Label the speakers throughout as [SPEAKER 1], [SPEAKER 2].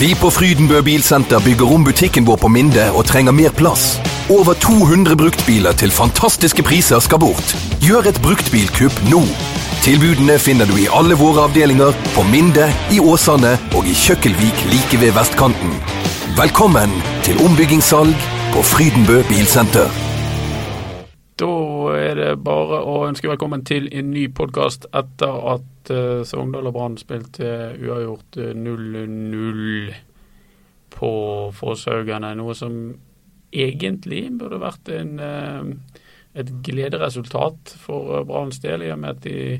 [SPEAKER 1] Vi på Frydenbø Bilsenter bygger om butikken vår på Minde og trenger mer plass. Over 200 bruktbiler til fantastiske priser skal bort. Gjør et bruktbilkupp nå. Tilbudene finner du i alle våre avdelinger, på Minde, i Åsane og i Kjøkkelvik like ved vestkanten. Velkommen til ombyggingssalg på Frydenbø Bilsenter.
[SPEAKER 2] Da er det bare å ønske velkommen til en ny podkast etter at eh, Sogndal og Brann spilte uavgjort eh, 0-0 på Fosshaugane. Noe som egentlig burde vært en, eh, et glederesultat for eh, Branns del, i og med at de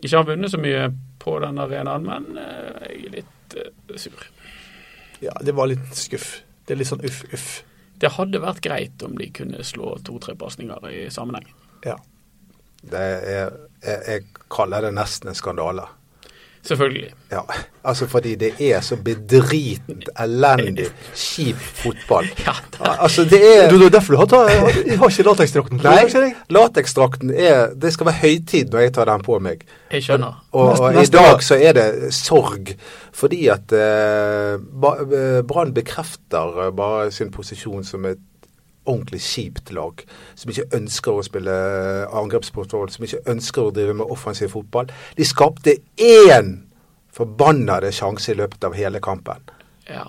[SPEAKER 2] ikke har vunnet så mye på den arenaen. Men eh, jeg er litt eh, sur.
[SPEAKER 3] Ja, det var litt skuff. Det er litt sånn uff, uff.
[SPEAKER 2] Det hadde vært greit om de kunne slå to-tre pasninger i sammenheng.
[SPEAKER 3] Ja.
[SPEAKER 4] Det er, jeg, jeg kaller det nesten en skandale.
[SPEAKER 2] Selvfølgelig.
[SPEAKER 4] Ja, altså fordi det er så bedritent, elendig, kjip fotball.
[SPEAKER 2] Ja,
[SPEAKER 4] Al- Altså det er
[SPEAKER 3] Eh, Du, det er derfor du har, ta, jeg har ikke lateksdrakten på deg, ser
[SPEAKER 4] Nei,
[SPEAKER 3] jeg.
[SPEAKER 4] lateksdrakten er Det skal være høytid når jeg tar den på meg.
[SPEAKER 2] Jeg skjønner.
[SPEAKER 4] Og, og i
[SPEAKER 3] Neste-
[SPEAKER 4] dag så er det sorg, fordi at eh, Ba- eh, Brann bekrefter eh, bare sin posisjon som et ordentlig kjipt lag. Som ikke ønsker å spille angrepsfotball, som ikke ønsker å drive med offensiv fotball. De skapte én forbannede sjanse i løpet av hele kampen.
[SPEAKER 2] Ja.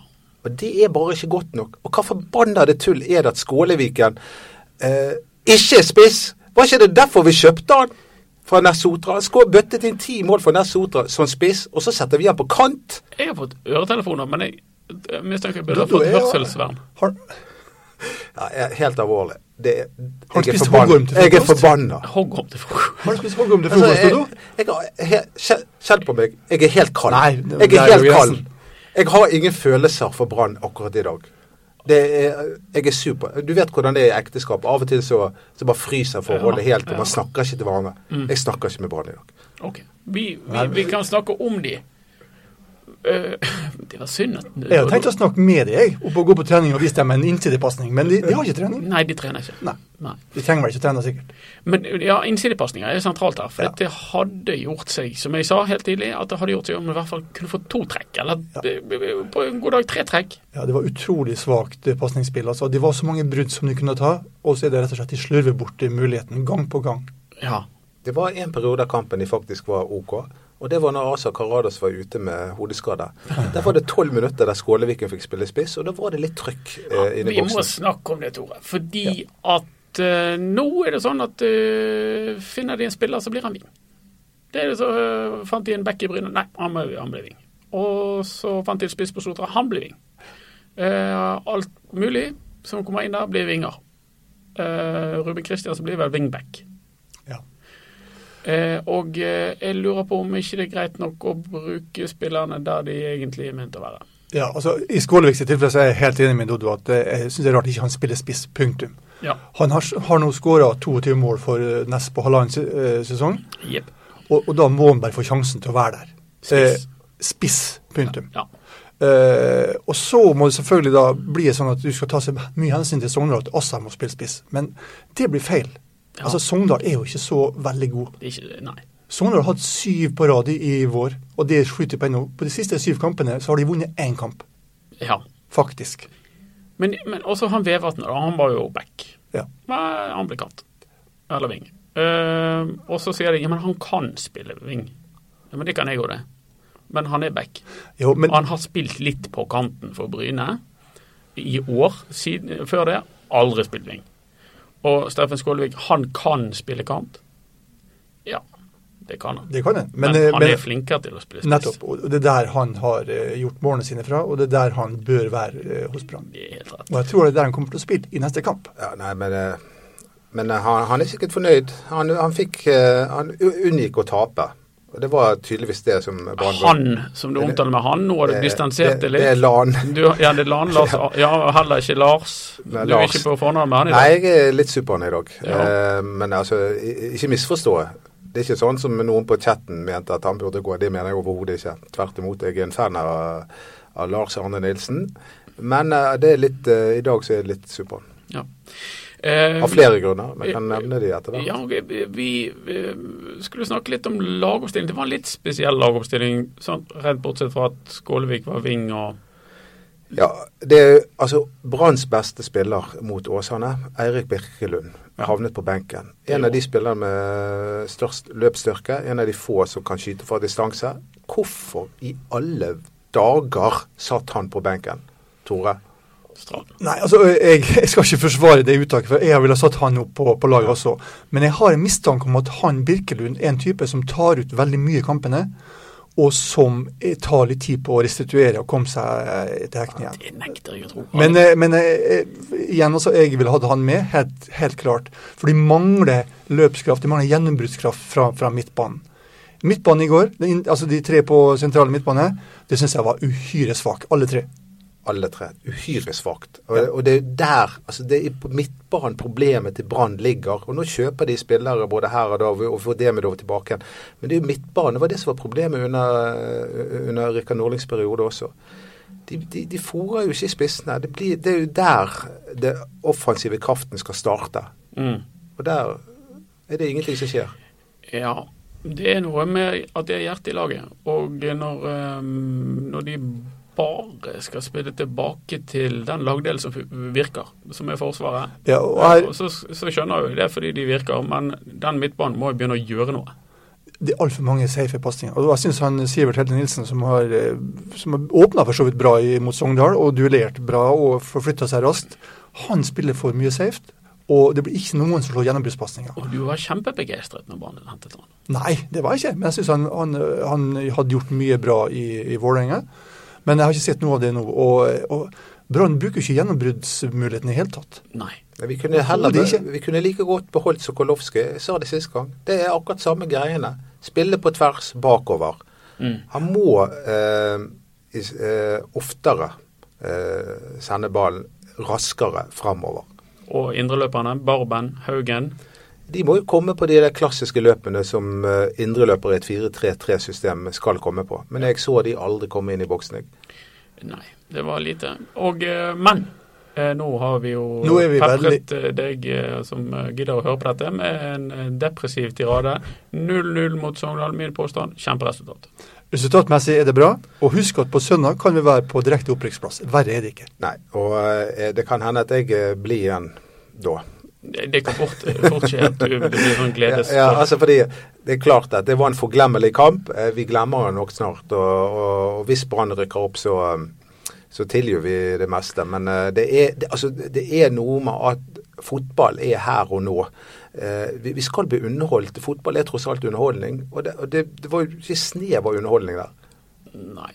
[SPEAKER 4] Og det er bare ikke godt nok. Og hva forbanna det tull er det at Skåleviken eh, ikke er spiss? Var ikke det derfor vi kjøpte han fra Nessotra? Han skår bøttet inn ti mål for Nessotra som spiss, og så setter vi han på kant!
[SPEAKER 2] Jeg har fått øretelefoner, men jeg jeg mistenker jeg burde
[SPEAKER 3] Da-
[SPEAKER 2] ha
[SPEAKER 3] da
[SPEAKER 2] fått
[SPEAKER 3] er-
[SPEAKER 2] hørselsvern.
[SPEAKER 3] Har,
[SPEAKER 4] Ja, jeg er helt alvorlig. Det, er-
[SPEAKER 3] Har han
[SPEAKER 4] jeg er
[SPEAKER 3] spist
[SPEAKER 4] forbanna.
[SPEAKER 3] hoggorm til
[SPEAKER 4] Jeg er
[SPEAKER 3] frokost?
[SPEAKER 4] forbanna.
[SPEAKER 2] Hogg om til frokost.
[SPEAKER 3] har du spist hoggorm til
[SPEAKER 4] Altså,
[SPEAKER 3] frokost,
[SPEAKER 4] jeg,
[SPEAKER 3] Dodo?
[SPEAKER 4] jeg har he- kjenn- Kjenn på meg, jeg er helt kald.
[SPEAKER 3] Nei, det-
[SPEAKER 4] jeg
[SPEAKER 3] det er
[SPEAKER 4] er helt
[SPEAKER 3] jo
[SPEAKER 4] kald.
[SPEAKER 3] Jensen.
[SPEAKER 4] Jeg har ingen følelser for Brann akkurat i dag. Det er, jeg er super. Du vet hvordan det er i ekteskap. Av og til så, så bare fryser forholdet
[SPEAKER 2] Ja,
[SPEAKER 4] helt, og
[SPEAKER 2] ja.
[SPEAKER 4] man snakker ikke til hverandre. Jeg snakker ikke med Brann i dag.
[SPEAKER 2] Ok. Vi, vi, vi kan snakke om de. Eh, det var synd at
[SPEAKER 3] Jeg har tenkt å snakke med deg jeg, oppe og gå på trening og vise dem en innsidepasning, men de, de har ikke trening.
[SPEAKER 2] Nei, de trener ikke.
[SPEAKER 3] Nei. De trenger vel ikke å trene, sikkert.
[SPEAKER 2] Men ja, innsidepasninger er sentralt her. For
[SPEAKER 3] Ja.
[SPEAKER 2] det hadde gjort seg, som jeg sa helt tidlig, at det hadde gjort seg om i hvert fall kunne få to trekk. Eller eh, på en god dag tre trekk.
[SPEAKER 3] Ja, Det var utrolig svakt eh, pasningsspill. Altså. Det var så mange brudd som de kunne ta, og så er det rett og slett de slurver bort i muligheten gang på gang.
[SPEAKER 2] Ja.
[SPEAKER 4] Det var en periode av kampen de faktisk var OK. Og det var når Asa Karadas var ute med hodeskade. Der var det tolv minutter der Skåleviken fikk spille spiss, og da var det litt trøkk eh, inne i
[SPEAKER 2] Vi må
[SPEAKER 4] boksen.
[SPEAKER 2] snakke om det, Tore. Fordi at eh, nå er det sånn at eh, finner de en spiller, så blir han ving. Det er det så eh, Fant de en back i Bryne? Nei, han, ble- han ble ving. Og så fant de en spiss på Sotra. Han ble ving. Eh, alt mulig som kommer inn der, blir vinger. Eh, Ruben Kristiansen blir vel wingback.
[SPEAKER 3] Ja.
[SPEAKER 2] Eh, og eh, jeg lurer på om ikke det er greit nok å bruke spillerne der de egentlig er ment å være.
[SPEAKER 3] Ja, altså I Skåleviks tilfelle så er jeg helt enig med Dodo at eh, jeg syns det er rart ikke han spiller spiss. Punktum.
[SPEAKER 2] Ja.
[SPEAKER 3] Han har, har nå skåra 22 mål for eh, Ness på halvannen se- eh, sesong,
[SPEAKER 2] Jepp.
[SPEAKER 3] og, og da må han bare få sjansen til å være der.
[SPEAKER 2] Spiss.
[SPEAKER 3] Eh, spiss. Punktum.
[SPEAKER 2] Ja.
[SPEAKER 3] Eh, og så må det selvfølgelig da bli sånn at du skal ta så mye hensyn til Sogndal at Assa må spille spiss, men det blir feil.
[SPEAKER 2] Ja.
[SPEAKER 3] Altså Sogndal er jo ikke så veldig god.
[SPEAKER 2] Det er ikke Nei.
[SPEAKER 3] Sogndal har hatt syv på rad i i vår, og det er sju til nå. På de siste syv kampene så har de vunnet én kamp,
[SPEAKER 2] Ja.
[SPEAKER 3] faktisk.
[SPEAKER 2] Men, men også han Vevatn, da, han var jo back.
[SPEAKER 3] Ja.
[SPEAKER 2] Nei, han ble kant. Eller ving. Eh, og så sier de ja, men han kan spille ving. Ja, men det kan jeg òg, det. Men han er back.
[SPEAKER 3] Jo, men,
[SPEAKER 2] Og han har spilt litt på kanten for Bryne i år. Siden, før det aldri spilt ving. Og Steffen Skålevik, han kan spille kant. Ja, det kan han.
[SPEAKER 3] det kan jeg. Men,
[SPEAKER 2] Men,
[SPEAKER 3] eh,
[SPEAKER 2] han
[SPEAKER 3] men
[SPEAKER 2] er flinkere til å spille spiss.
[SPEAKER 3] nettopp. Og det er der han har eh, gjort målene sine fra, og det er der han bør være eh, hos Brann.
[SPEAKER 2] Det er helt rett.
[SPEAKER 3] Og jeg tror det er der han kommer til å spille i neste kamp.
[SPEAKER 4] Ja, nei, men, eh, men eh, han, han er sikkert fornøyd. Han, han, fikk, eh, han u- unngikk å tape. Og det var tydeligvis det som Brann var-
[SPEAKER 2] Han, som du omtaler med han, nå har du
[SPEAKER 3] Eh,
[SPEAKER 4] Det-
[SPEAKER 2] distansert
[SPEAKER 4] det-
[SPEAKER 2] deg litt.
[SPEAKER 4] det er Lan.
[SPEAKER 2] Du, ja, det er Lan. Lars, ja, heller ikke Lars. Du
[SPEAKER 4] Nei,
[SPEAKER 2] er
[SPEAKER 4] Lars.
[SPEAKER 2] ikke på fornavn med han i
[SPEAKER 4] Nei,
[SPEAKER 2] dag.
[SPEAKER 4] jeg er litt super han i dag.
[SPEAKER 2] Ja.
[SPEAKER 4] Eh, men altså, i- ikke misforstå. Det er ikke sånn som noen på chatten mente at han burde gå. Det mener jeg overhodet ikke. Tvert imot, jeg er en fan av, av Lars Arne Nilsen. Men eh, det er litt, eh, i dag så er det litt super.
[SPEAKER 2] Ja. Eh,
[SPEAKER 4] Av flere grunner, men jeg kan nevne de etter hvert.
[SPEAKER 2] ja, ok, vi, vi eh, skulle snakke litt om lagoppstilling. Det var en litt spesiell lagoppstilling, sånn, rent bortsett fra at Skålevik var ving og
[SPEAKER 4] Ja, det er altså Branns beste spiller mot Åsane, Eirik Birkelund, havnet på benken. En av de spillerne med størst løpsstyrke, en av de få som kan skyte fra distanse. Hvorfor i alle dager satt han på benken, Tore?
[SPEAKER 2] Strand.
[SPEAKER 3] Nei, altså, jeg, jeg skal ikke forsvare det uttaket, for jeg ville ha satt han opp på, på laget også. Men jeg har en mistanke om at han Birkelund er en type som tar ut veldig mye i kampene, og som eh, tar litt tid på å restituere og komme seg eh, til hektene igjen.
[SPEAKER 2] Det nekter jeg å tro.
[SPEAKER 3] Men, eh, men eh, eh, igjen, altså, jeg ville hatt han med, helt, helt klart. For de mangler løpskraft, de mangler gjennombruddskraft fra, fra midtbanen. Midtbanen i går, den, altså de tre på sentrale midtbane, det syns jeg var uhyre svak, alle tre.
[SPEAKER 4] Alle tre. Uhyre svakt. Og, og det er der, altså det er på midtbanen problemet til Brann ligger. Og nå kjøper de spillere både her og da, og får det med det over tilbake igjen. Men det er jo midtbanen. Det var det som var problemet under, under Rikard Nordlings periode også. De, de, de fôrer jo ikke spissene. Det, blir, det er jo der det offensive kraften skal starte.
[SPEAKER 2] Mm.
[SPEAKER 4] Og der er det ingenting som skjer.
[SPEAKER 2] Ja. Det er noe med at det er hjertet i laget. Og når, eh, når de bare skal spille tilbake til den lagdelen som virker, som er Forsvaret,
[SPEAKER 3] Ja, og her,
[SPEAKER 2] og så, så skjønner jeg jo det fordi de virker, men den midtbanen må jo begynne å gjøre noe.
[SPEAKER 3] det er altfor mange safe pasninger. Og jeg syns han Sivert Helden Nilsen, som har, eh, som har åpna for så vidt bra i- mot Sogndal og duellert bra og forflytta seg raskt, han spiller for mye safe. Og det blir ikke noen som slår gjennombruddspasninger.
[SPEAKER 2] Og du var kjempebegeistret når Brann hentet han.
[SPEAKER 3] Nei, det var jeg ikke. Men jeg syns han, han, eh, han hadde gjort mye bra i, i Vålerenga. Men jeg har ikke sett noe av det nå. Og, og Brann bruker jo ikke gjennombruddsmuligheten i det hele tatt.
[SPEAKER 2] Nei.
[SPEAKER 4] Men Vi kunne, heller,
[SPEAKER 3] Overhodet ikke.
[SPEAKER 4] be- vi kunne like godt beholdt Sokolovskij. Jeg sa det sist gang. Det er akkurat samme greiene. Spille på tvers bakover.
[SPEAKER 2] Mm.
[SPEAKER 4] Han må eh, is, eh, oftere eh, sende ballen raskere fremover.
[SPEAKER 2] Og indreløperne, Barben, Haugen.
[SPEAKER 4] De må jo komme på de der klassiske løpene som eh, indreløpere i et 4-3-3-system skal komme på. Men jeg så de aldri komme inn i boksen. jeg.
[SPEAKER 2] Nei, det var lite. Og, eh, men eh, nå har vi jo
[SPEAKER 3] Nå er vi
[SPEAKER 2] pepret eh, deg eh, som eh, gidder å høre på dette, med en eh, depressiv tirade. 0-0 mot Sogndal, min påstand. Kjemperesultat.
[SPEAKER 3] Resultatmessig er det bra. Og husk at på søndag kan vi være på direkte opprykksplass. Verre er det ikke.
[SPEAKER 4] Nei, og eh, det kan hende at jeg eh, blir igjen da.
[SPEAKER 2] Det det kan fort, fort skje at du det blir sånn
[SPEAKER 4] Ja,
[SPEAKER 2] gledes...
[SPEAKER 4] ja, altså fordi det er klart at det var en forglemmelig kamp. Eh, Vi glemmer den nok snart. Og, og, og hvis Brann rykker opp, så, eh, så tilgir vi det meste. Men eh, det er, det, altså, det er noe med at fotball er her og nå. Eh, Vi, vi skal bli underholdt. Fotball er tross alt underholdning. Og det, og det, det var jo ikke snev av underholdning der.
[SPEAKER 2] Nei.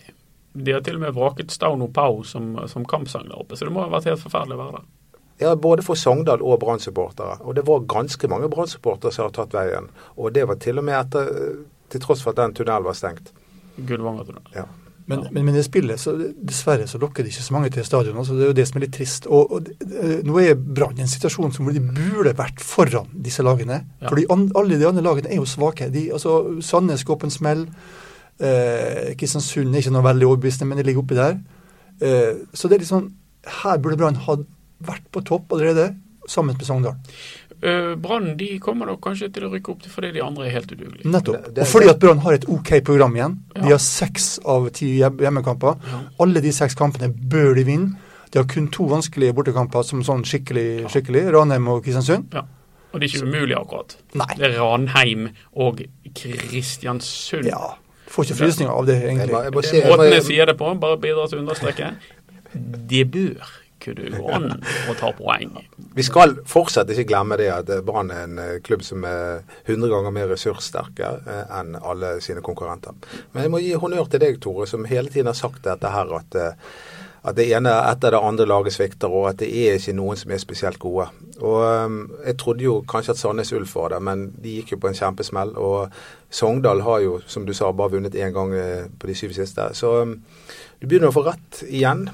[SPEAKER 2] De har til og med vraket Stauno Pau som, som kampsang der oppe, så det må ha vært helt forferdelig å være der.
[SPEAKER 4] Ja, Både for Sogndal og Brann-supportere. Og det var ganske mange Brann-supportere som har tatt veien. Og det var til og med etter, eh, til tross for at den tunnelen var stengt.
[SPEAKER 2] Gullvanger-tunnel.
[SPEAKER 4] Ja.
[SPEAKER 3] Men,
[SPEAKER 2] Ja.
[SPEAKER 3] men, men det spillet, så dessverre så lokker det ikke så mange til stadionet. Så det er jo det som er litt trist. Og, og det- det- Nå er Brann i en situasjon som hvor de burde vært foran disse lagene.
[SPEAKER 2] Ja.
[SPEAKER 3] Fordi an, alle de andre lagene er jo svake. De, altså, Sandnes går på en smell. Eh, Kristiansund er ikke noe veldig overbevisende, men de ligger oppi der. Eh, så det er litt sånn Her burde Brann ha vært på topp allerede, sammen med Sogndal.
[SPEAKER 2] Eh, Brann de kommer nok kanskje til å rykke opp til fordi de andre er helt udugelige.
[SPEAKER 3] Nettopp.
[SPEAKER 4] Det- det-
[SPEAKER 3] og fordi at Brann har et OK program igjen.
[SPEAKER 2] Ja.
[SPEAKER 3] De har seks av ti hjem- hjemmekamper. Alle de seks kampene bør de vinne. De har kun to vanskelige bortekamper som sånn skikkelig, skikkelig. Ranheim og Kristiansund.
[SPEAKER 2] Ja. Og det er ikke umulig, akkurat.
[SPEAKER 3] Nei.
[SPEAKER 2] Det er Ranheim og Kristiansund.
[SPEAKER 3] Ja. Får ikke frysninger av det,
[SPEAKER 4] Jeg må,
[SPEAKER 3] egentlig.
[SPEAKER 4] jeg må si,
[SPEAKER 2] Det er
[SPEAKER 4] jeg må,
[SPEAKER 2] måten jeg sier det på, bare bidra til å understreke. Det bør kunne gå an å ta poeng.
[SPEAKER 4] Vi skal fortsatt ikke glemme det at eh, Brann er en eh, klubb som er 100 ganger mer ressurssterke eh, enn alle sine konkurrenter. Men jeg må gi honnør til deg, Tore, som hele tiden har sagt dette her at, eh, at det ene etter det andre laget svikter, og at det er ikke noen som er spesielt gode. Og eh, Jeg trodde jo kanskje at Sandnes Ulf var det, men de gikk jo på en kjempesmell. Og Sogndal har jo, som du sa, bare vunnet én gang eh, på de syv siste. Så eh, du begynner å få rett igjen.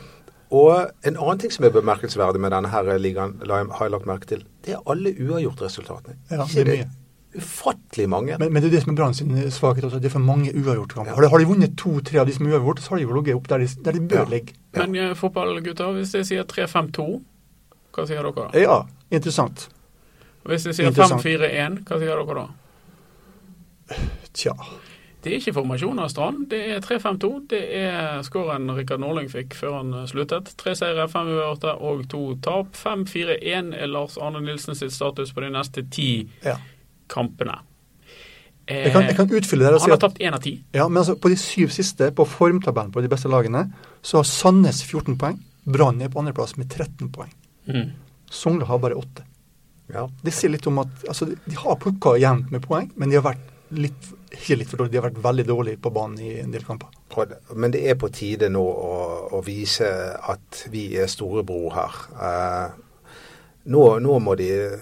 [SPEAKER 4] Og en annen ting som er bemerkelsesverdig med denne her ligaen, la jeg- har jeg lagt merke til, det er alle uavgjortresultatene.
[SPEAKER 3] Ja,
[SPEAKER 4] Ikke
[SPEAKER 3] det er mye.
[SPEAKER 4] Ufattelig mange.
[SPEAKER 3] Men, men det er det som er Brann sin svakhet også. Det er for mange uavgjortkamper. Har, de- har de vunnet to-tre av de som er uavgjort, så har de jo ligget opp der de, der de bør
[SPEAKER 4] Ja.
[SPEAKER 3] ligge.
[SPEAKER 2] Men eh, fotballgutter, hvis jeg sier 3-5-2, hva sier dere?
[SPEAKER 3] Ja, interessant.
[SPEAKER 2] Hvis jeg sier
[SPEAKER 3] Interessant.
[SPEAKER 2] 5-4-1, hva sier dere da?
[SPEAKER 3] Tja.
[SPEAKER 2] Det er ikke formasjon av Strand. Det er 3-5-2. Det er skåren Rikard Norling fikk før han eh, sluttet. Tre seire, fem uavgjorte og to tap. 5-4-1 er Lars Arne Nilsen sitt status på de neste ti
[SPEAKER 3] Ja.
[SPEAKER 2] kampene. Eh,
[SPEAKER 3] Jeg kan, jeg kan utfylle det her og si
[SPEAKER 2] han har
[SPEAKER 3] at
[SPEAKER 2] tapt én av ti.
[SPEAKER 3] ja, men altså, på de syv siste, på formtabellen på de beste lagene, så har Sandnes 14 poeng. Brann er på andreplass med 13 poeng.
[SPEAKER 2] Mm.
[SPEAKER 3] Sogndal har bare 8.
[SPEAKER 4] Ja.
[SPEAKER 3] Det sier litt om at altså, de- de har plukka jevnt med poeng, men de har vært litt ikke litt for dårlige, de har vært veldig dårlige på banen i en del kamper.
[SPEAKER 4] Og- Men det er på tide nå å, å vise at vi er storebror her. Eh, nå, nå må de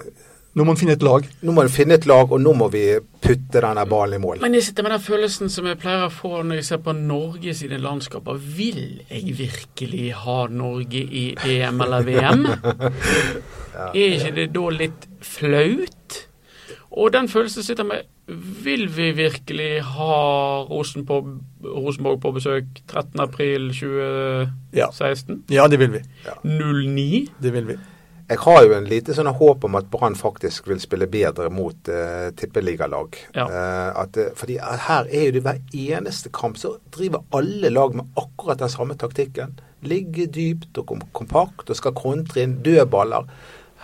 [SPEAKER 3] Nå må man finne et lag.
[SPEAKER 4] nå må de finne et lag, og nå må vi putte denne ballen i mål.
[SPEAKER 2] Men jeg sitter med den følelsen som jeg pleier å få når jeg ser på Norge sine landskaper. Vil jeg virkelig ha Norge i EM eller VM? Er ikke det da litt flaut? Og den følelsen sitter med Vil vi virkelig ha Rosen på, Rosenborg på besøk 13.4.2016?
[SPEAKER 3] Ja, det vil vi.
[SPEAKER 2] 09?
[SPEAKER 3] Det vil vi.
[SPEAKER 4] Jeg har jo en lite sånn håp om at Brann faktisk vil spille bedre mot eh, tippeligalag.
[SPEAKER 2] Ja.
[SPEAKER 4] Eh, at, eh, fordi her er jo det hver eneste kamp så driver alle lag med akkurat den samme taktikken. Ligge dypt og kom kompakt og skal kontre inn dødballer.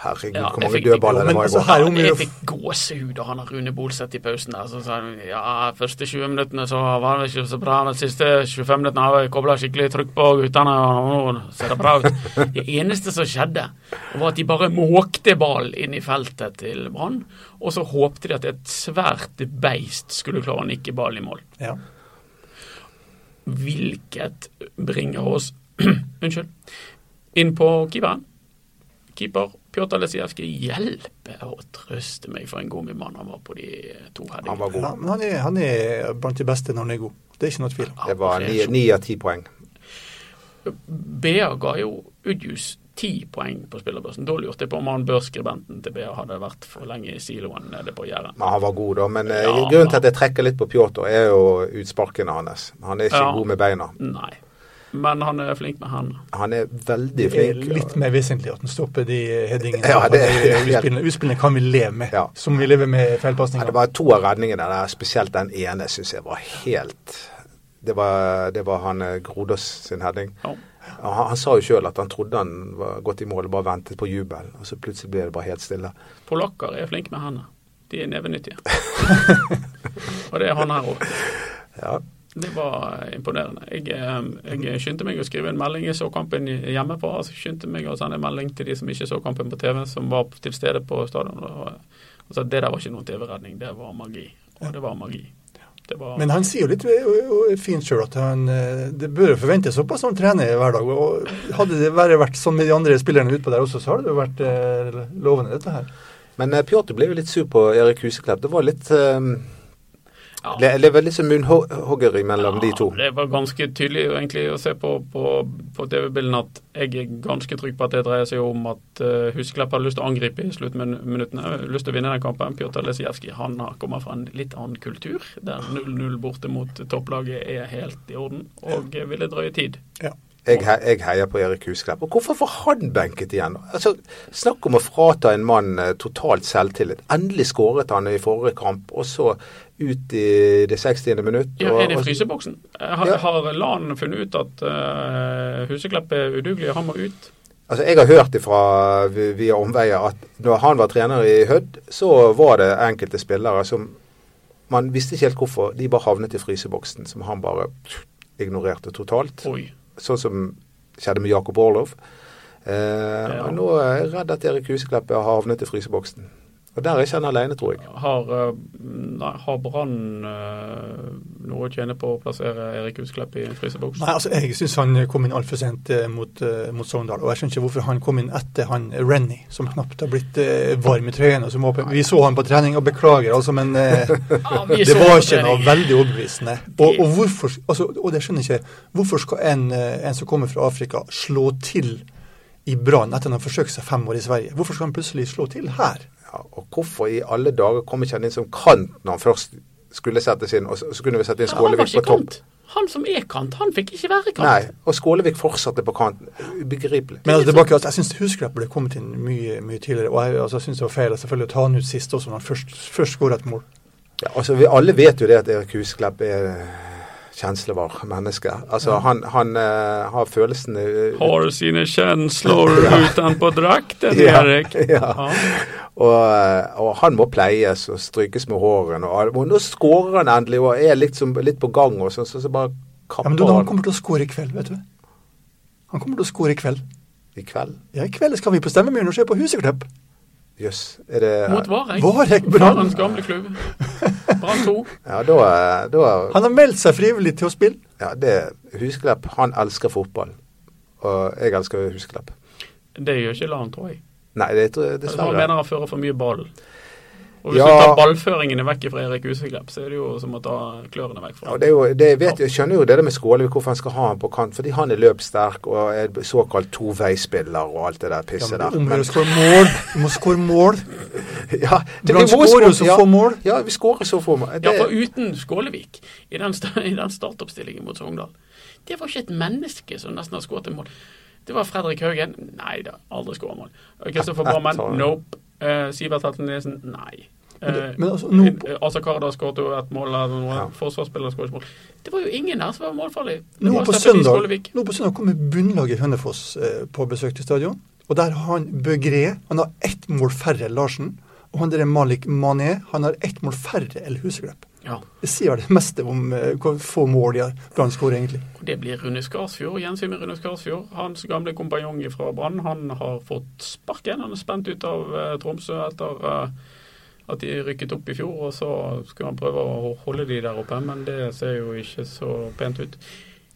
[SPEAKER 4] Herregud,
[SPEAKER 2] Ja,
[SPEAKER 4] hvor
[SPEAKER 2] jeg
[SPEAKER 4] mange
[SPEAKER 2] fikk-
[SPEAKER 4] dødballer
[SPEAKER 3] jo,
[SPEAKER 4] det
[SPEAKER 3] men
[SPEAKER 4] var i
[SPEAKER 3] altså,
[SPEAKER 4] går.
[SPEAKER 3] her er jo mye-
[SPEAKER 2] Jeg fikk gåsehud av han der Rune Bolseth i pausen der. Så sa han ja, første 20 minuttene så var det ikke så bra, men de siste 25 minuttene har vi kobla skikkelig trykk på guttene, og nå ser det bra ut. Det eneste som skjedde, var at de bare måkte ballen inn i feltet til Brann, og så håpte de at et svært beist skulle klare å nikke ballen i mål.
[SPEAKER 3] Ja.
[SPEAKER 2] Hvilket bringer oss Unnskyld. Inn på keeperen. Keeper Pjotr Lesijevskij hjelpe og trøste meg for en god mann han var på de to
[SPEAKER 4] Han
[SPEAKER 2] headingene.
[SPEAKER 4] var god.
[SPEAKER 3] ja men han er, han er blant de beste når han er god. Det er ikke noe tvil.
[SPEAKER 4] Det var ni- ni av ti poeng.
[SPEAKER 2] BA ga jo Udjus ti poeng på spillerbørsen. Da lurte jeg på om han børskribenten til BA hadde vært for lenge i siloen nede på Jæren.
[SPEAKER 4] Men han var god, da. Men eh,
[SPEAKER 2] Ja,
[SPEAKER 4] grunnen til at jeg trekker litt på Pjotr, er jo utsparkene hans. Han er ikke
[SPEAKER 2] Ja.
[SPEAKER 4] god med beina.
[SPEAKER 2] Nei. Men han er flink med hendene.
[SPEAKER 4] Han er veldig
[SPEAKER 3] Det er
[SPEAKER 4] flink.
[SPEAKER 3] litt mer vesentlig at han stopper de headingene.
[SPEAKER 4] Ja, det er-
[SPEAKER 3] Utspillene- Utspillene kan vi leve med,
[SPEAKER 4] Ja.
[SPEAKER 3] som vi lever med
[SPEAKER 4] Ja, det
[SPEAKER 3] feilpasninger.
[SPEAKER 4] var to av redningene der, spesielt den ene syns jeg var helt Det var, det var han eh, Grodås sin heading.
[SPEAKER 2] Ja.
[SPEAKER 4] Og Han, han sa jo sjøl at han trodde han var gått i mål og bare ventet på jubel, og så plutselig ble det bare helt stille.
[SPEAKER 2] Polakker er flinke med hendene. De er nevenyttige. og det er han her òg.
[SPEAKER 4] Ja.
[SPEAKER 2] Det var imponerende. Jeg, eh, jeg skyndte meg å skrive en melding. Jeg så kampen hjemmefra. Så skyndte meg å sende en melding til de som ikke så kampen på TV, som var til stede på stadion. Og, eh, og sa at det der var ikke noen TV-redning, det var magi. Og det var magi. Det var,
[SPEAKER 3] Men han sier jo litt eh, og- og fint sjøl at han, eh, det bør jo forventes såpass når han trener hver dag. og Hadde det bare vært sånn med de andre spillerne utpå der også, så hadde det jo vært eh, lovende, dette her.
[SPEAKER 4] Men eh, Pjotr ble jo litt sur på Erik Huseklepp. Det var litt eh,
[SPEAKER 2] Ja.
[SPEAKER 4] Det det var litt sånn munnhoggeri mellom de to.
[SPEAKER 2] Ja, det var ganske tydelig egentlig å se på, på, på TV-bildene at jeg er ganske trygg på at det dreier seg om at uh, Husklepp hadde lyst til å angripe i sluttminuttene, øh, lyst til å vinne den kampen. Pjotr Lesijevskij han har- kommer fra en litt annen kultur, der 0-0 borte mot topplaget er helt i orden, og eh, ville drøye tid.
[SPEAKER 4] Jeg, he jeg heier på Erik Husklepp. Og hvorfor var han benket igjen? Altså, Snakk om å frata en mann eh, totalt selvtillit. Endelig skåret han i forrige kamp, og så ut i det 60. minutt.
[SPEAKER 2] Ja,
[SPEAKER 4] og,
[SPEAKER 2] er det
[SPEAKER 4] og-
[SPEAKER 2] fryseboksen? Har,
[SPEAKER 4] Ja.
[SPEAKER 2] har Lan funnet ut at eh, Huseklepp er udugelig, han må ut?
[SPEAKER 4] Altså, Jeg har hørt ifra vi- via omveier at når han var trener i Hødd, så var det enkelte spillere som Man visste ikke helt hvorfor. De bare havnet i fryseboksen, som han bare ignorerte totalt.
[SPEAKER 2] Oi.
[SPEAKER 4] sånn som skjedde med Jakob Orlov. Eh, og Nå er jeg redd at Erik Huseklepp har havnet i fryseboksen. Og der er ikke han alene, tror jeg.
[SPEAKER 2] Har, eh, nei, har Brann eh, noe å tjene på å plassere Erik Husklepp i en fryseboks?
[SPEAKER 3] Nei, altså Jeg syns han kom inn altfor sent eh, mot, eh, mot Sogndal. Og jeg skjønner ikke hvorfor han kom inn etter han Rennie, som knapt har blitt eh, varm i trøyen. Og som åpen. Vi så han på trening, og beklager, altså, men eh,
[SPEAKER 2] Ah, vi
[SPEAKER 3] det
[SPEAKER 2] så
[SPEAKER 3] var
[SPEAKER 2] på
[SPEAKER 3] ikke noe
[SPEAKER 2] trening.
[SPEAKER 3] veldig overbevisende. Og, og hvorfor altså, og det skjønner jeg ikke Hvorfor skal en, eh, en som kommer fra Afrika, slå til i Brann etter han har forsøkt seg fem år i Sverige? Hvorfor skal han plutselig slå til her?
[SPEAKER 4] Ja, og hvorfor i alle dager kom ikke han inn som kant når han først skulle settes inn, og så, så kunne vi sette inn
[SPEAKER 2] Ja, Han var
[SPEAKER 4] Skålevik
[SPEAKER 2] ikke
[SPEAKER 4] på topp?
[SPEAKER 2] kant. Han som er kant, han fikk ikke være kant.
[SPEAKER 4] Nei, og Skålevik fortsatte på kanten. Ubegripelig.
[SPEAKER 3] Men altså, tilbake, altså, jeg syns Husklepp ble kommet inn mye mye tidligere. Og jeg, altså, jeg syns det var feil selvfølgelig å ta han ut sist også, når han først, først skåra et mål.
[SPEAKER 4] Ja, altså, vi alle vet jo det at Erik Husklepp er kjenslevar menneske. Altså, han, han eh, har følelsene eh,
[SPEAKER 2] Har sine känslor utanpå drakten,
[SPEAKER 4] Ja,
[SPEAKER 2] Erik.
[SPEAKER 4] ja. Og, eh, og han må pleies og strykes med hårene. Og, alt. og nå skårer han endelig og er litt, som, litt på gang, og sånn, så, så bare
[SPEAKER 3] Ja,
[SPEAKER 4] kapper
[SPEAKER 3] men du, han
[SPEAKER 4] han
[SPEAKER 3] kommer til å score i kveld, vet du. Han kommer til å score i kveld.
[SPEAKER 4] i kveld.
[SPEAKER 3] Ja, i kveld skal vi på stemmebyen og se på Huseklepp.
[SPEAKER 4] Jøss. Er det
[SPEAKER 2] Mot Varek.
[SPEAKER 3] Varek Brann.
[SPEAKER 2] Varens gamle klubb. Brann 2.
[SPEAKER 4] Ja, da, eh, da
[SPEAKER 3] Han har meldt seg frivillig til å spille.
[SPEAKER 4] ja, det, Husklepp, han elsker fotball. Og jeg elsker Husklepp.
[SPEAKER 2] Det gjør ikke Lan, tror jeg.
[SPEAKER 4] Nei, det tror jeg
[SPEAKER 2] Altså, han mener
[SPEAKER 4] dessverre.
[SPEAKER 2] han fører for mye ball. Og hvis
[SPEAKER 4] Ja.
[SPEAKER 2] du tar ballføringene vekk fra Erik Huseklepp, så er det jo som å ta klørne vekk fra
[SPEAKER 4] Og det er jo, det vet, jeg skjønner jo det der med Skålevik, hvorfor han skal ha han på kant. Fordi han er løpssterk og er såkalt toveispiller og alt det der
[SPEAKER 3] Ja,
[SPEAKER 4] pisset
[SPEAKER 3] men
[SPEAKER 4] der.
[SPEAKER 3] du må
[SPEAKER 4] Men-
[SPEAKER 3] jo skåre mål. Du må skåre mål.
[SPEAKER 4] Ja, det
[SPEAKER 3] Brann
[SPEAKER 4] blir vår
[SPEAKER 3] skårer jo
[SPEAKER 4] skål-
[SPEAKER 3] så
[SPEAKER 4] ja.
[SPEAKER 3] få mål.
[SPEAKER 4] Ja, vi skårer så få mål. Det-
[SPEAKER 2] Ja, for uten Skålevik i den, sta- i den startoppstillingen mot Sogndal Det var ikke et menneske som nesten har skåret et mål. Det var Fredrik Haugen. Nei da, aldri skåret mål. Kristoffer
[SPEAKER 4] Et- et
[SPEAKER 2] Barmen.
[SPEAKER 4] tar-
[SPEAKER 2] Nope. Eh, Sivert Helten Nesen. Nei.
[SPEAKER 3] Men-
[SPEAKER 2] Eh,
[SPEAKER 3] men altså, nå-
[SPEAKER 2] eh, Asa Kardar skåret jo et mål eller noe.
[SPEAKER 4] Ja.
[SPEAKER 2] Forsvarsspiller skåret ikke mål. Det var jo ingen her som var målfarlig. Det
[SPEAKER 3] Nå
[SPEAKER 2] var
[SPEAKER 3] på,
[SPEAKER 2] Steffen
[SPEAKER 3] søndag,
[SPEAKER 2] Skålevik.
[SPEAKER 3] nå på søndag kommer bunnlaget i Hønefoss eh, på besøk til stadion. Og der har han Bøgré. Han har ett mål færre enn Larsen. Og han der Malik Mané han har ett mål færre enn Huseklepp.
[SPEAKER 2] Ja.
[SPEAKER 3] Det sier vel det meste om eh, hvor få mål de har Brann skårer, egentlig.
[SPEAKER 2] Og Det blir Rune Skarsfjord. Gjensyn med Rune Skarsfjord. Hans gamle kompanjong fra Brann. Han har fått sparken. Han er spent ut av eh, Tromsø etter eh, at de rykket opp i fjor. Og så skulle han prøve å holde de der oppe, men det ser jo ikke så pent ut.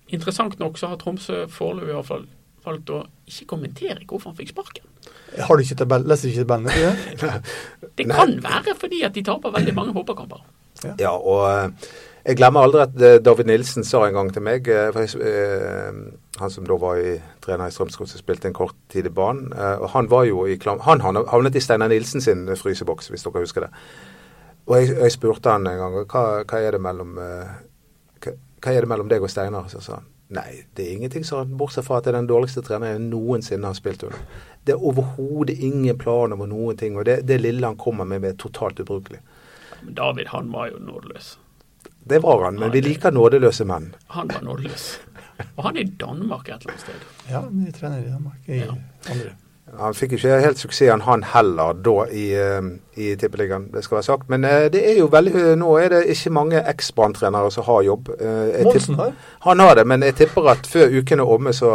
[SPEAKER 2] Interessant nok så har Tromsø foreløpig i hvert fall valgt å ikke kommentere hvorfor han fikk sparken.
[SPEAKER 3] Har du ikke tabell, leser ikke tabellen? vet du det?
[SPEAKER 2] Det kan være fordi at de taper veldig mange fotballkamper.
[SPEAKER 4] Ja, og eh, jeg glemmer aldri at eh, David Nilsen sa en gang til meg eh, for jeg, s- eh, Han som da var i trener i Strømsgodt som spilte en kort tid i banen. eh, og Han var jo i klam, han havna- havnet i Steinar Nilsen sin eh, fryseboks, hvis dere husker det. Og jeg, jeg spurte han en gang hva, hva er det mellom eh, hva, hva er det mellom deg og Steinar? Så sa han nei, det er ingenting, sa han. Bortsett fra at det er den dårligste treneren jeg noensinne har spilt under. Det er overhodet ingen plan over noen ting. Og det, det lille han kommer med, er totalt ubrukelig.
[SPEAKER 2] Men David, han var jo nådeløs.
[SPEAKER 4] Det var han, men vi liker nådeløse menn.
[SPEAKER 2] Han var nådeløs. Og han er i Danmark et eller annet sted.
[SPEAKER 3] Ja, de trener i Danmark. I
[SPEAKER 2] Ja.
[SPEAKER 3] andre.
[SPEAKER 4] Han fikk jo ikke helt suksessen han heller da i, eh, i Tippeligaen, det skal være sagt. Men eh, det er jo veldig, nå er det ikke mange eks-Brann-trenere som har jobb. Eh, jeg tipp-
[SPEAKER 3] Monsen her.
[SPEAKER 4] Han har det, men jeg tipper at før uken er omme, så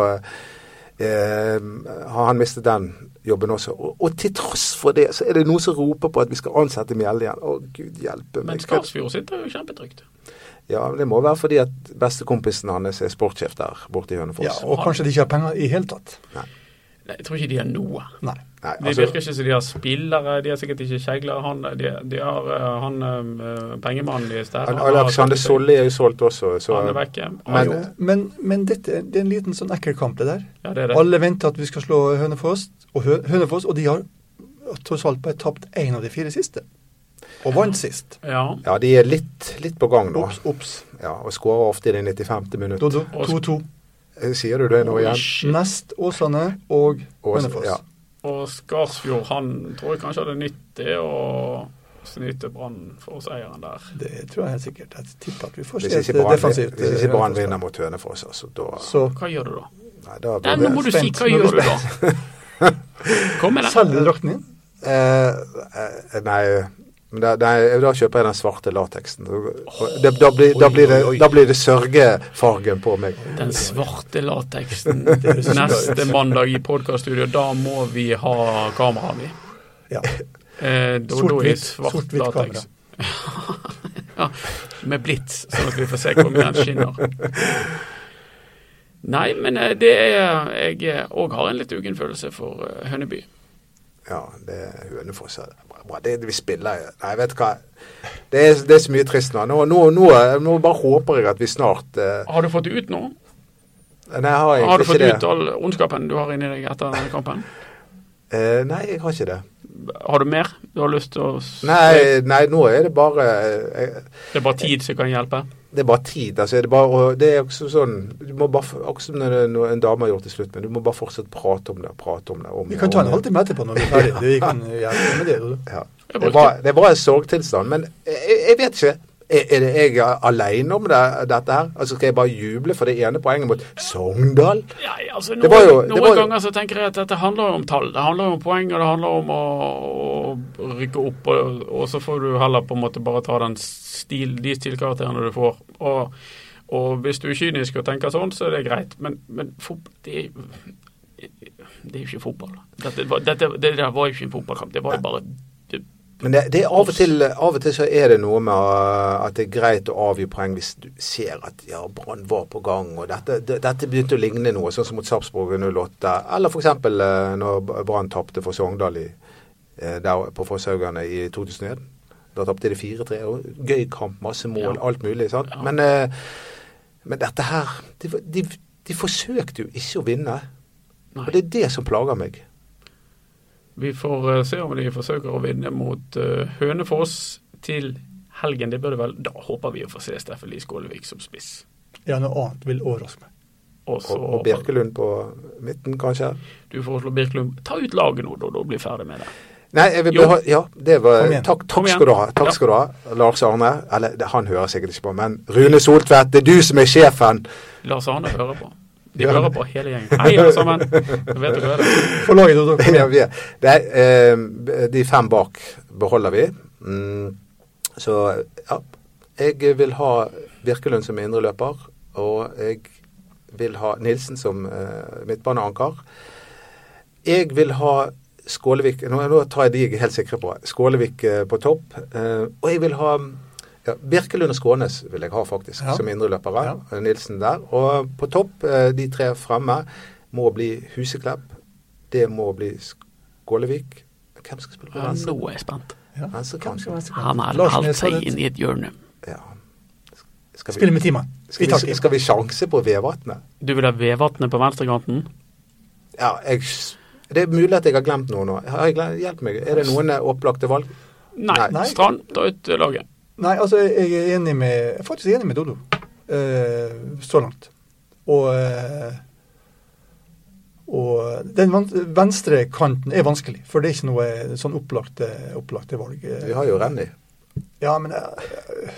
[SPEAKER 4] eh, har han mistet den jobben også. Og, og til tross for det, så er det noen som roper på at vi skal ansette Mjelde igjen. Å, gud hjelpe
[SPEAKER 2] Men
[SPEAKER 4] meg.
[SPEAKER 2] Skarsfjord sitter jo kjempetrygt.
[SPEAKER 4] Ja, men det må være fordi at bestekompisen hans er sportssjef der borte i Hønefoss.
[SPEAKER 3] Ja, og kanskje de ikke har penger i hele tatt.
[SPEAKER 2] Nei, Jeg tror ikke de har noe.
[SPEAKER 3] Nei.
[SPEAKER 4] Nei, altså-
[SPEAKER 2] Det virker ikke som de har spillere, de har sikkert ikke kjegler. Han, de, de har eh, han eh, pengemannen deres der.
[SPEAKER 4] Al-
[SPEAKER 2] har-
[SPEAKER 4] Alexander Solli er jo solgt også. Så,
[SPEAKER 2] Han er vekke.
[SPEAKER 4] Men-
[SPEAKER 2] Men,
[SPEAKER 3] Men, men dette, det er en liten sånn ekkel kamp, det der.
[SPEAKER 2] ja, det er det.
[SPEAKER 3] Alle venter at vi skal slå Hønefoss, og, Hø Hønefoss, og de har tross alt bare tapt én av de fire siste. Og vant sist.
[SPEAKER 2] Ja.
[SPEAKER 4] ja, de er litt, litt på gang nå.
[SPEAKER 3] Ops, ops.
[SPEAKER 4] Ja, og skårer ofte i det 95. minutt.
[SPEAKER 3] Dodo, 2-2.
[SPEAKER 4] Eh, Sier du det nå
[SPEAKER 2] Oi,
[SPEAKER 4] igjen?
[SPEAKER 2] shit.
[SPEAKER 3] Nest Åsane og
[SPEAKER 4] Ås-
[SPEAKER 3] Hønefoss.
[SPEAKER 4] ja.
[SPEAKER 2] Og Skarsfjord, han tror jeg kanskje hadde nytt det å snyte Brann for seieren der.
[SPEAKER 3] Det tror jeg helt sikkert. Jeg tipper at vi får
[SPEAKER 4] Hvis
[SPEAKER 3] se et
[SPEAKER 4] ikke Brann-
[SPEAKER 3] defensivt
[SPEAKER 4] hvis ikke Brann
[SPEAKER 3] eh,
[SPEAKER 4] vinner mot Hønefoss, altså, da,
[SPEAKER 3] Så
[SPEAKER 2] Hva gjør du da?
[SPEAKER 4] nei, da
[SPEAKER 2] Nei,
[SPEAKER 4] blir
[SPEAKER 2] nå må
[SPEAKER 4] det
[SPEAKER 2] du si
[SPEAKER 3] spent.
[SPEAKER 2] hva
[SPEAKER 3] Nå er
[SPEAKER 2] gjør
[SPEAKER 3] vi
[SPEAKER 2] du da? Kom med det.
[SPEAKER 3] selger du drakten din?
[SPEAKER 4] eh, eh, Nei, men da, nei, da kjøper jeg den svarte lateksen. Og det- Da, blir- da, blir det- da blir det sørgefargen på meg.
[SPEAKER 2] Den svarte lateksen neste mandag i podkaststudio. Da må vi ha kameraet, vi.
[SPEAKER 3] Ja.
[SPEAKER 2] Eh, da, da er
[SPEAKER 3] Sort-hvitt
[SPEAKER 2] svart
[SPEAKER 3] sort kamera.
[SPEAKER 2] latex. Ja, med blits, sånn at vi får se hvor mye den skinner. Nei, men eh, det er Jeg òg har en litt ugen følelse for eh, Høneby.
[SPEAKER 4] Ja, det er Hønefoss. ja. Bra, bra. Det, vi spiller jo Nei, vet du hva. Det er, det er så mye trist nå. Nå, nå, nå, nå bare håper jeg at vi snart eh,
[SPEAKER 2] Har du fått ut noe?
[SPEAKER 4] Nei, jeg har
[SPEAKER 2] Har du
[SPEAKER 4] egentlig
[SPEAKER 2] fått
[SPEAKER 4] ikke
[SPEAKER 2] ut
[SPEAKER 4] det.
[SPEAKER 2] all ondskapen du har inni deg etter denne kampen?
[SPEAKER 4] Eh, nei, jeg har ikke det.
[SPEAKER 2] Har du mer du har lyst til å s-
[SPEAKER 4] Nei, nei nå er det bare eh,
[SPEAKER 2] Det er bare tid som kan hjelpe.
[SPEAKER 4] Det er bare tid. altså er det, bare, og det er også sånn du må bare, Akkurat som når når en dame har gjort til slutt, men du må bare fortsatt prate om det. prate om det. Om,
[SPEAKER 3] Vi kan ta en
[SPEAKER 4] om-
[SPEAKER 3] halvtime etterpå når vi er ferdige. Vi kan hjelpe med det. du.
[SPEAKER 4] Ja.
[SPEAKER 2] Jeg
[SPEAKER 4] Det,
[SPEAKER 2] brukte-
[SPEAKER 4] var, det var en sorgtilstand, men eh, jeg, jeg vet ikke. Er, er det jeg er alene om det, dette her? Altså Skal jeg bare juble for det ene poenget mot Sogndal?
[SPEAKER 2] Nei, altså
[SPEAKER 4] Det
[SPEAKER 2] Noen,
[SPEAKER 4] var jo- det
[SPEAKER 2] noen
[SPEAKER 4] var jo-
[SPEAKER 2] ganger så tenker jeg at dette handler jo om tall. Det handler jo om poeng, og det handler om å, å rykke opp. Og, og så får du heller på en måte bare ta den stil, de stilkarakterene du får. Og, og hvis du er kynisk og tenker sånn, så er det greit. Men, men fot- det, det er jo ikke fotball. Dette, var- dette, det der var jo ikke en fotballkamp. Det var jo bare det,
[SPEAKER 4] Men det, det er av, og til, av og til så er det noe med uh, at det er greit å avgi poeng hvis du ser at ja, Brann var på gang, og dette, det, dette begynte å ligne noe, sånn som mot Sarpsborg 08. Eller f.eks. Uh, når Brann tapte for Sogndal i, eh, der på Fosshaugane i 2001. Da tapte de 4-3. og Gøy kamp, masse mål,
[SPEAKER 2] Ja.
[SPEAKER 4] alt mulig. sant?
[SPEAKER 2] Ja.
[SPEAKER 4] Men, eh, men dette her de, de, de forsøkte jo ikke å vinne.
[SPEAKER 2] Nei.
[SPEAKER 4] Og det er det som plager meg.
[SPEAKER 2] Vi får eh, se om de forsøker å vinne mot eh, Hønefoss til helgen. Det bør det vel. Da håper vi å få se Steffen Lie Skålevik som spiss.
[SPEAKER 3] Ja, noe annet vil overraske meg.
[SPEAKER 2] Og så
[SPEAKER 4] Og, og Bjerkelund på midten, kanskje.
[SPEAKER 2] Du foreslår Birkelund Ta ut laget nå, da, da blir ferdig med det.
[SPEAKER 4] Nei, jeg vil
[SPEAKER 2] Jo.
[SPEAKER 4] beha ja, det var,
[SPEAKER 3] Kom igjen.
[SPEAKER 4] takk,
[SPEAKER 2] Kom
[SPEAKER 4] takk
[SPEAKER 2] igjen.
[SPEAKER 4] skal du ha. Takk
[SPEAKER 2] Ja.
[SPEAKER 4] skal du ha, Lars Arne. Eller det, han hører sikkert ikke på, men Rune Soltvedt, det er du som er sjefen!
[SPEAKER 2] Lars Arne hører på. De
[SPEAKER 4] Ja.
[SPEAKER 2] hører på hele gjengen. Hei, alle sammen. Jeg vet dere det.
[SPEAKER 3] For laget, da, da. kom
[SPEAKER 4] Ja,
[SPEAKER 3] igjen.
[SPEAKER 4] vi er- det, er, eh, de fem bak beholder vi. Mm, så ja, jeg vil ha Birkelund som indreløper, og jeg vil ha Nilsen som eh, midtbaneanker. Jeg vil ha Skålevik nå, nå tar jeg de jeg er helt sikre på. Skålevik eh, på topp. eh, og jeg vil ha ja, Birkelund og Skånes vil jeg ha, faktisk,
[SPEAKER 3] Ja.
[SPEAKER 4] som indreløpere. Nilsen der. Og på topp, eh, de tre fremme, må bli Huseklepp. Det må bli Skålevik. Hvem skal spille på
[SPEAKER 2] Ja,
[SPEAKER 4] venstre?
[SPEAKER 2] Nå er jeg spent.
[SPEAKER 3] Ja.
[SPEAKER 4] Venstre kant.
[SPEAKER 3] Kanskje venstre kant.
[SPEAKER 2] Han har
[SPEAKER 3] Larsen er
[SPEAKER 2] halvt seg
[SPEAKER 3] skadet.
[SPEAKER 2] inn i et hjørne.
[SPEAKER 4] Ja. Skal
[SPEAKER 3] Spiller
[SPEAKER 4] vi,
[SPEAKER 3] med timen. Vi
[SPEAKER 4] skal, vi,
[SPEAKER 3] takker.
[SPEAKER 4] skal vi sjanse på Vevatnet?
[SPEAKER 2] Du vil ha Vevatnet på venstrekanten?
[SPEAKER 4] Ja, jeg Det er mulig at jeg har glemt noe nå. Har jeg glemt, hjelp meg. Er det noen eh, opplagte valg?
[SPEAKER 2] Nei.
[SPEAKER 3] Nei.
[SPEAKER 2] Strand, ta ut eh, laget.
[SPEAKER 3] Nei, altså, jeg er enig med, jeg er faktisk enig med Dodo eh, så langt. Og, eh, og den van- venstre kanten er vanskelig, for det er ikke noe sånn opplagte, opplagte valg. Eh,
[SPEAKER 4] Vi har jo Renny.
[SPEAKER 3] Ja, men eh,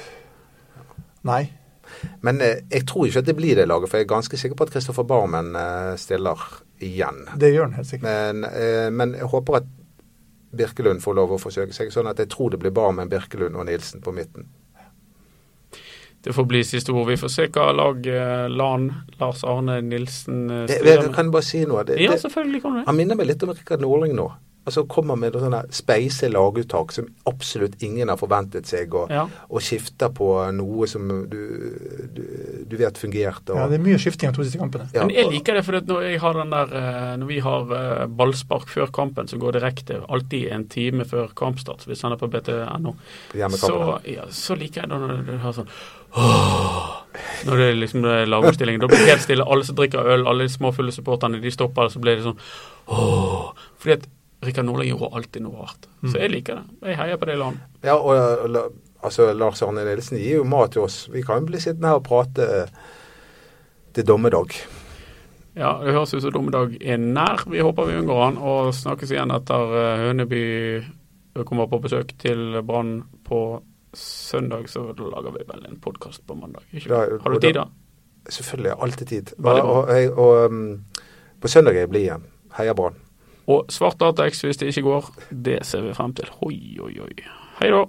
[SPEAKER 3] Nei.
[SPEAKER 4] Men eh, jeg tror ikke at det blir det laget, for jeg er ganske sikker på at Kristoffer Barmen eh, stiller igjen.
[SPEAKER 3] Det gjør den helt sikkert.
[SPEAKER 4] Men, eh, men jeg håper at Birkelund får lov å forsøke seg, sånn at jeg tror det blir Barmen, Birkelund og Nilsen på midten.
[SPEAKER 2] Det får bli siste ord. Vi får se hva lag eh, Lan, Lars Arne Nilsen eh,
[SPEAKER 4] Jeg,
[SPEAKER 2] styrer
[SPEAKER 4] jeg
[SPEAKER 2] med.
[SPEAKER 4] kan bare si noe. Det,
[SPEAKER 2] Ja,
[SPEAKER 4] det,
[SPEAKER 2] selvfølgelig kan du det.
[SPEAKER 4] han minner meg litt om Rikard Norling nå. Altså kommer med noen sånne speise laguttak som absolutt ingen har forventet seg, og,
[SPEAKER 2] Ja.
[SPEAKER 4] og skifter på noe som du, du, du vet fungerte.
[SPEAKER 3] Ja,
[SPEAKER 4] Og,
[SPEAKER 3] det er mye skifting av to siste kampene.
[SPEAKER 4] Ja,
[SPEAKER 2] Men jeg
[SPEAKER 4] og-
[SPEAKER 2] liker det, for når, jeg har den der, eh, når vi har eh, ballspark før kampen, som går direkte alltid en time før kampstart, hvis han er på BT.no,
[SPEAKER 4] på
[SPEAKER 2] så,
[SPEAKER 4] hjemmekampene.
[SPEAKER 2] ja, så liker jeg det når du har sånn «Åh», Når det er liksom det er lagoppstillingen. Da blir det helt stille. Alle som drikker øl, alle de småfulle supporterne, de stopper, så blir det sånn Åh. Fordi at Rikard Nordli gjorde alltid noe rart. Så jeg liker det. Jeg heier på det landet.
[SPEAKER 4] Ja, og, og la- altså, Lars Arne Nilsen gir jo mat til oss. Vi kan bli sittende her og prate eh, til dommedag.
[SPEAKER 2] Ja, det høres ut som dommedag er nær. Vi håper vi unngår han. Og snakkes igjen etter eh, Høneby kommer på besøk til Brann på søndag. Så da lager vi vel en podkast på mandag. Ikke?
[SPEAKER 4] Ja,
[SPEAKER 2] sant? Har
[SPEAKER 4] og
[SPEAKER 2] du tid,
[SPEAKER 4] da-
[SPEAKER 2] da?
[SPEAKER 4] Selvfølgelig. Alltid tid. Og,
[SPEAKER 2] Veldig bra.
[SPEAKER 4] og, jeg- og um, på søndag er jeg blid igjen. Heia Brann.
[SPEAKER 2] Og svart datax hvis det ikke går. Det ser vi frem til. Hoi, oi, oi. Hei da.